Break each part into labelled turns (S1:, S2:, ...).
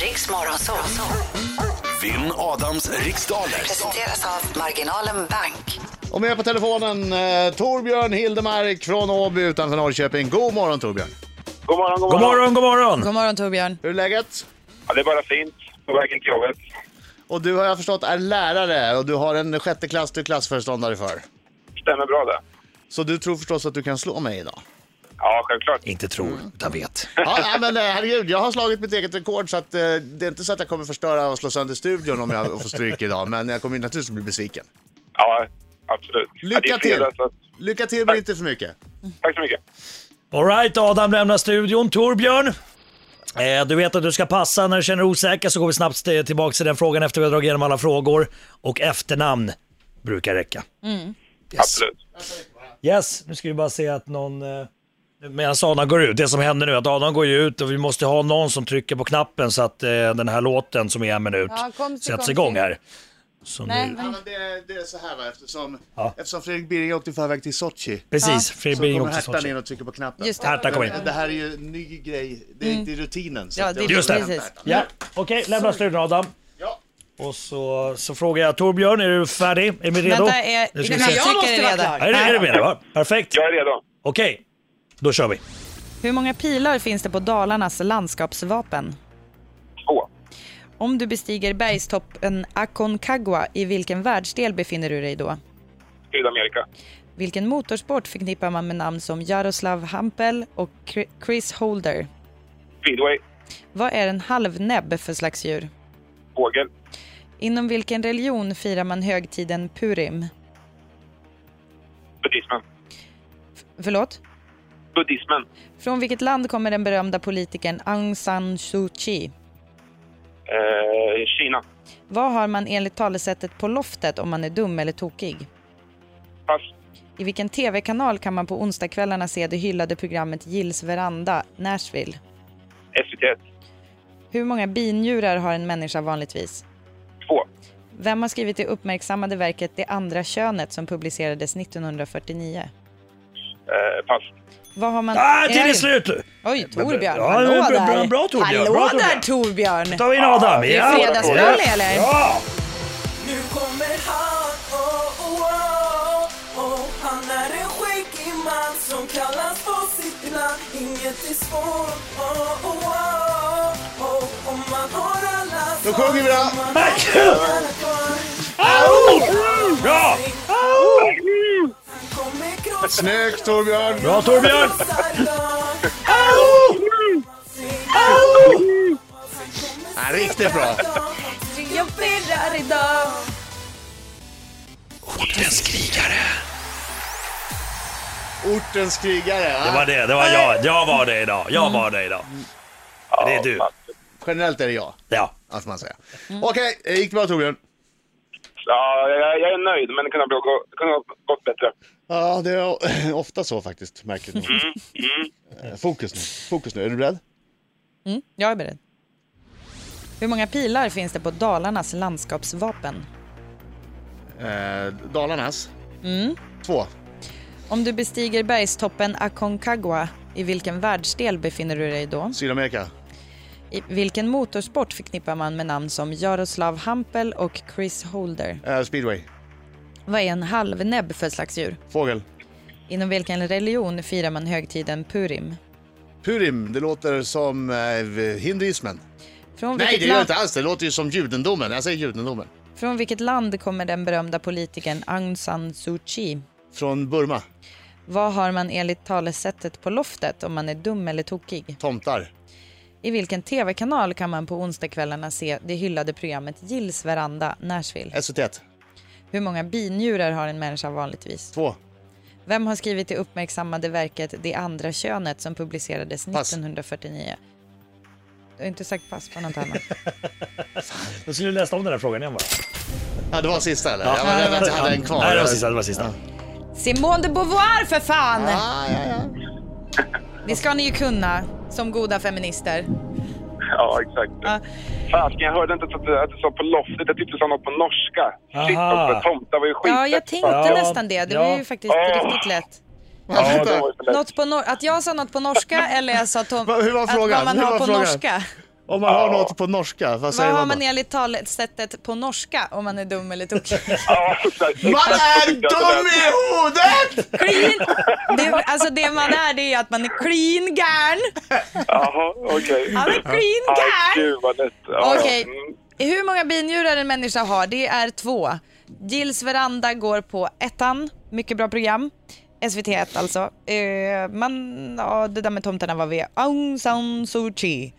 S1: Riks Morgonzoo.
S2: Vinn Adams riksdaler.
S1: Presenteras av Marginalen Bank.
S3: Och med på telefonen eh, Torbjörn Hildemark från Åby utanför Norrköping. God morgon Torbjörn!
S4: God morgon, god
S5: God
S4: morgon.
S5: morgon, god morgon!
S6: God morgon Torbjörn.
S3: Hur är läget?
S4: Ja, det är bara fint. På vägen till jobbet.
S3: Och du har jag förstått är lärare och du har en sjätte klass du är klassföreståndare för.
S4: Stämmer bra det.
S3: Så du tror förstås att du kan slå mig idag?
S4: Ja, självklart.
S5: Inte tror, utan vet.
S3: Ja, nej, men eh, herregud, jag har slagit mitt eget rekord så att eh, det är inte så att jag kommer förstöra och slå sönder studion om jag får stryk idag. Men jag kommer ju naturligtvis bli besviken.
S4: Ja, absolut. ja, det
S3: Lycka
S4: är alltså. fredag,
S3: till.
S4: så att-
S3: Lycka till men inte för mycket.
S4: Tack så mycket.
S5: Alright, Adam lämnar studion. Torbjörn, eh, du vet att du ska passa. När du känner dig osäker så går vi snabbt eh, tillbaka till den frågan efter vi har dragit igenom alla frågor. Och efternamn brukar räcka.
S6: Mm.
S4: Absolut.
S5: Yes, nu ska vi bara se att någon... Eh, Medan Adam går ut, det som händer nu är att Adam går ju ut och vi måste ha någon som trycker på knappen så att eh, den här låten som är en minut
S6: Ja, kom till-
S5: sätts
S6: kom
S5: igång
S6: till.
S5: här. Så
S6: Nej,
S5: nu,
S3: Ja,
S6: men,
S3: men det, det är så här va, eftersom,
S5: Ja.
S3: eftersom Fredrik Birring åkte i förväg till Sochi.
S5: precis,
S3: Så
S5: Fredrik
S3: kommer
S5: Bingham till
S3: Hertan
S5: Sochi.
S3: in och trycker på knappen.
S6: just det.
S5: Herta kom in.
S3: Det här är ju en ny grej, det är inte i rutinen. Så
S6: Mm. Ja,
S3: att
S6: det är
S5: Just det.
S3: hämtar.
S6: precis.
S5: Ja, okej, lämna studion Adam.
S3: Ja.
S5: Och så, så frågar jag Torbjörn, är du färdig? Är vi redo?
S6: Vänta, är,
S5: Nu ska
S6: Nej,
S5: vi
S6: men
S5: se.
S6: jag tycker det är redan.
S5: Är det, är det med det, va? Perfekt.
S4: Jag är redo.
S5: Okej, då kör vi.
S6: Hur många pilar finns det på Dalarnas landskapsvapen?
S4: Två.
S6: Om du bestiger bergstoppen Aconcagua, i vilken världsdel befinner du dig då?
S4: Sydamerika.
S6: Vilken motorsport förknippar man med namn som Jaroslav Hampel och Chri- Chris Holder?
S4: Speedway.
S6: Vad är en halvnäbb för slags djur?
S4: Fågel.
S6: Inom vilken religion firar man högtiden Purim?
S4: Buddhismen.
S6: Förlåt?
S4: Buddhismen.
S6: Från vilket land kommer den berömda politikern Aung San Suu Kyi?
S4: Eh, Kina.
S6: Vad har man enligt talesättet på loftet om man är dum eller tokig?
S4: Pass.
S6: I vilken tv-kanal kan man på onsdagskvällarna se det hyllade programmet Gills veranda, Nashville?
S4: SVT1.
S6: Hur många binjurar har en människa vanligtvis?
S4: Två.
S6: Vem har skrivit det uppmärksammade verket Det andra könet som publicerades 1949?
S4: Eh, pass.
S6: Vad har man...
S5: Ah, tiden är
S6: Oj.
S5: slut!
S6: Oj, Torbjörn.
S5: Ja,
S6: Hallå
S5: bra- bra-
S6: där!
S5: bra, Torbjörn.
S6: Hallå
S5: Bra,
S6: där Torbjörn!
S5: tar vi in Adam.
S6: Ah, Det är fredagsbulle eller?
S5: Ja!
S7: Nu kommer han, oh, oh, oh, oh. Han är en skäggig man som kallas på sitt namn Inget är svårt, oh, oh, oh, oh. Om man har alla
S3: Då sjunger vi då.
S5: Au! Bra! Au!
S3: Snyggt Torbjörn!
S5: Bra Torbjörn! Au!
S3: Ja, riktigt bra!
S6: Jag pirrar idag!
S5: Ortens krigare.
S3: Ortens krigare.
S5: Det
S3: Ja.
S5: var det, det var jag. Jag var det idag. Jag var det idag.
S4: Ja,
S5: Det är du.
S4: pass.
S3: Generellt är det jag,
S5: Ja.
S3: att man säger.
S6: Mm.
S3: Okej, eh, gick det bra Torbjörn?
S4: Ja, jag, jag är nöjd, men det kunde ha blivit- det kunde ha gått bättre.
S3: Ja, det är o- ofta så faktiskt, märkligt nog. Eh, Fokus nu, fokus nu. Är du beredd?
S6: Mm, jag är beredd. Hur många pilar finns det på Dalarnas landskapsvapen?
S3: Eh, Dalarnas.
S6: Mm.
S3: Två.
S6: Om du bestiger bergstoppen Aconcagua, i vilken världsdel befinner du dig då?
S3: Sydamerika.
S6: I vilken motorsport förknippar man med namn som Jaroslav Hampel och Chris Holder?
S3: Eh, speedway.
S6: Vad är en halvnäbb för slags djur?
S3: Fågel.
S6: Inom vilken religion firar man högtiden Purim?
S3: Purim, det låter som eh, hinduismen.
S6: Från
S3: Nej,
S6: vilket,
S3: det gör det
S6: land,
S3: inte alls. Det låter ju som judendomen. Jag säger judendomen.
S6: från vilket land kommer den berömda politikern Aung San Suu Kyi?
S3: Från Burma.
S6: Vad har man enligt talesättet på loftet om man är dum eller tokig?
S3: Tomtar.
S6: I vilken tv-kanal kan man på onsdagskvällarna se det hyllade programmet Gills veranda, Nashville?
S3: SVT1.
S6: Hur många binjurar har en människa vanligtvis?
S3: Två.
S6: Vem har skrivit det uppmärksammade verket Det andra könet som publicerades
S3: Pass.
S6: 1949? Du har inte sagt pass på något annat.
S5: Då skulle du läsa om den här frågan igen bara.
S3: Ja, det var sista eller? Ja, jag var rädd att jag hade en kvar.
S5: Nej, det var sista. Det var sista.
S6: Simone de Beauvoir för fan!
S3: Ah, ja, ja.
S6: Det ska ni ju kunna som goda feminister.
S4: Ja, exakt.
S6: Ja.
S4: Fasken, jag hörde inte att du, att du sa på loftet. Jag tyckte du sa något på norska.
S5: Aha.
S4: Shit också, tomtar var ju skit.
S6: Ja, jag tänkte
S5: Ja,
S6: nästan det. Det var
S5: ja.
S6: ju faktiskt
S4: Ja.
S6: riktigt lätt.
S4: Ja, det var ju så lätt.
S6: Något på nor- att jag sa något på norska eller jag sa tom-
S3: Va- hur var frågan?
S6: att vad man
S3: Hur
S6: har
S3: var
S6: på
S3: frågan?
S6: norska.
S3: Om man har
S4: Ja.
S3: något på norska, vad
S6: Vad
S3: säger
S6: har
S3: man då?
S6: man enligt talesättet på norska om man är dum eller tokig?
S4: Ja, exakt.
S3: Man
S4: exakt så
S3: är
S4: tyckte jag att det
S3: dum
S4: lät.
S3: i huvudet!
S6: Clean! Det, alltså det man är det är ju att man är clean gärn.
S4: Jaha, okej.
S6: Ja men clean
S4: Aj,
S6: gärn!
S4: gud vad lätt. Ja,
S6: Okej,
S4: ja. Mm.
S6: hur många binjurar en människa har? Det är två. Gills veranda går på ettan, mycket bra program. SVT 1 alltså. Eh, man, ja, det där med tomtarna var vi. Aung San Suu Kyi.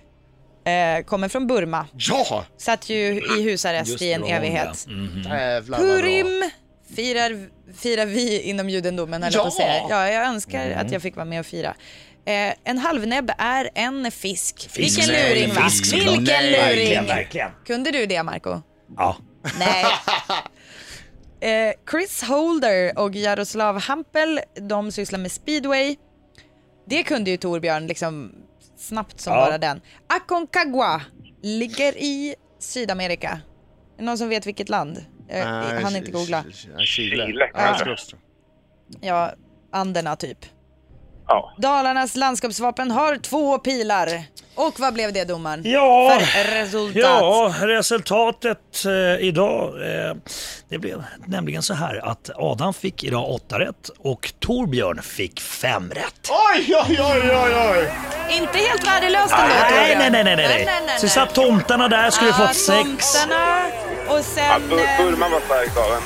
S6: Eh, kommer från Burma.
S3: Ja!
S6: Satt ju i husarrest
S5: Just
S6: i en
S5: det, var hon,
S6: evighet.
S5: Mm.
S3: Jävlar vad bra.
S6: Purim firar, firar vi inom judendomen, höll jag på att
S3: Ja!
S6: säga. Ja, jag önskar att jag fick vara med och fira. Eh, en halvnäbb är en fisk. Vilken
S5: Nej,
S6: luring, va?
S5: fisk såklart.
S6: Vilken
S3: Nej,
S5: Verkligen,
S6: luring!
S5: verkligen.
S6: Kunde du det, Marco?
S5: Ja.
S6: Nej. Eh, Chris Holder och Jaroslav Hampel, de sysslar med speedway. Det kunde ju Torbjörn liksom snabbt som
S5: Ja.
S6: bara den. Aconcagua ligger i Sydamerika. Är det Någon som vet vilket land? Eh,
S3: Nej,
S6: han inte
S3: Ch-
S6: googla.
S3: Ch- Chile.
S4: Chile,
S3: Ja, jag
S4: kanske.
S3: skulle också tro.
S6: Ja, Anderna typ.
S4: Ja.
S6: Dalarnas landskapsvapen har två pilar. Och vad blev det domaren?
S5: Ja.
S6: För resultat.
S5: Ja, resultatet eh, idag. Eh, det blev nämligen så här att Adam fick idag åtta rätt och Torbjörn fick fem rätt.
S3: Oj, oj, oj, oj, oj!
S6: Inte helt värdelöst ändå
S5: Nej,
S6: Torbjörn.
S5: nej, nej, nej, nej. Så satt tomtarna där skulle
S6: Ah,
S5: fått sex.
S6: tomtarna. Och
S4: Ja,
S6: sen...
S4: Bur-
S6: eh,
S4: Burma var starkt av en.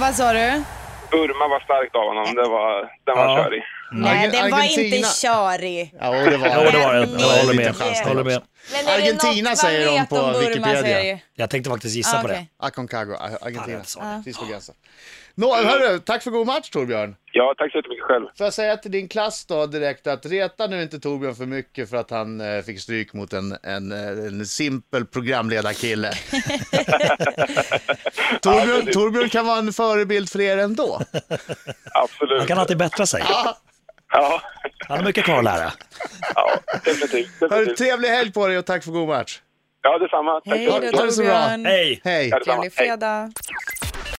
S6: Vad sa du?
S4: Burma var starkt av honom. Det var, den var
S5: Ja.
S4: körig.
S6: Nej,
S3: Arge-
S6: den var
S3: Argentina.
S6: inte körig.
S3: Ja, och det var
S5: Ja, det var det. Jag håller med.
S3: Liten chans
S5: Jag
S3: där
S5: håller med.
S3: också.
S6: Men är det
S3: Argentina
S6: något
S3: säger
S6: man
S3: de
S6: vet
S3: på
S6: om Burma,
S3: Wikipedia.
S6: säger-
S5: Jag tänkte faktiskt gissa
S6: Ah,
S5: på det.
S6: okej.
S3: Aconcagua, Ar-
S5: Fan,
S3: Argentina.
S5: jag sa det.
S3: Precis på gränsen. Nå, hörru, tack för god match Torbjörn.
S4: Ja, tack så jättemycket själv.
S3: Får jag säga till din klass då direkt att reta nu inte Torbjörn för mycket för att han eh, fick stryk mot en, en, eh, en simpel programledarkille. Torbjörn, Torbjörn kan vara en förebild för er ändå.
S4: Absolut.
S5: Man kan alltid bättra sig.
S4: Ja,
S5: Han har mycket kvar att lära.
S4: ja definitivt.
S3: Hörru,
S4: definitivt.
S3: trevlig helg på dig och tack för god match.
S4: Ja, detsamma. Tack
S6: Hej
S4: så
S6: då
S4: mycket.
S5: Mm.
S3: Ha det så bra.
S6: Torbjörn.
S5: Hej!
S3: Hej!
S4: Ja, detsamma.
S6: Trevlig fredag.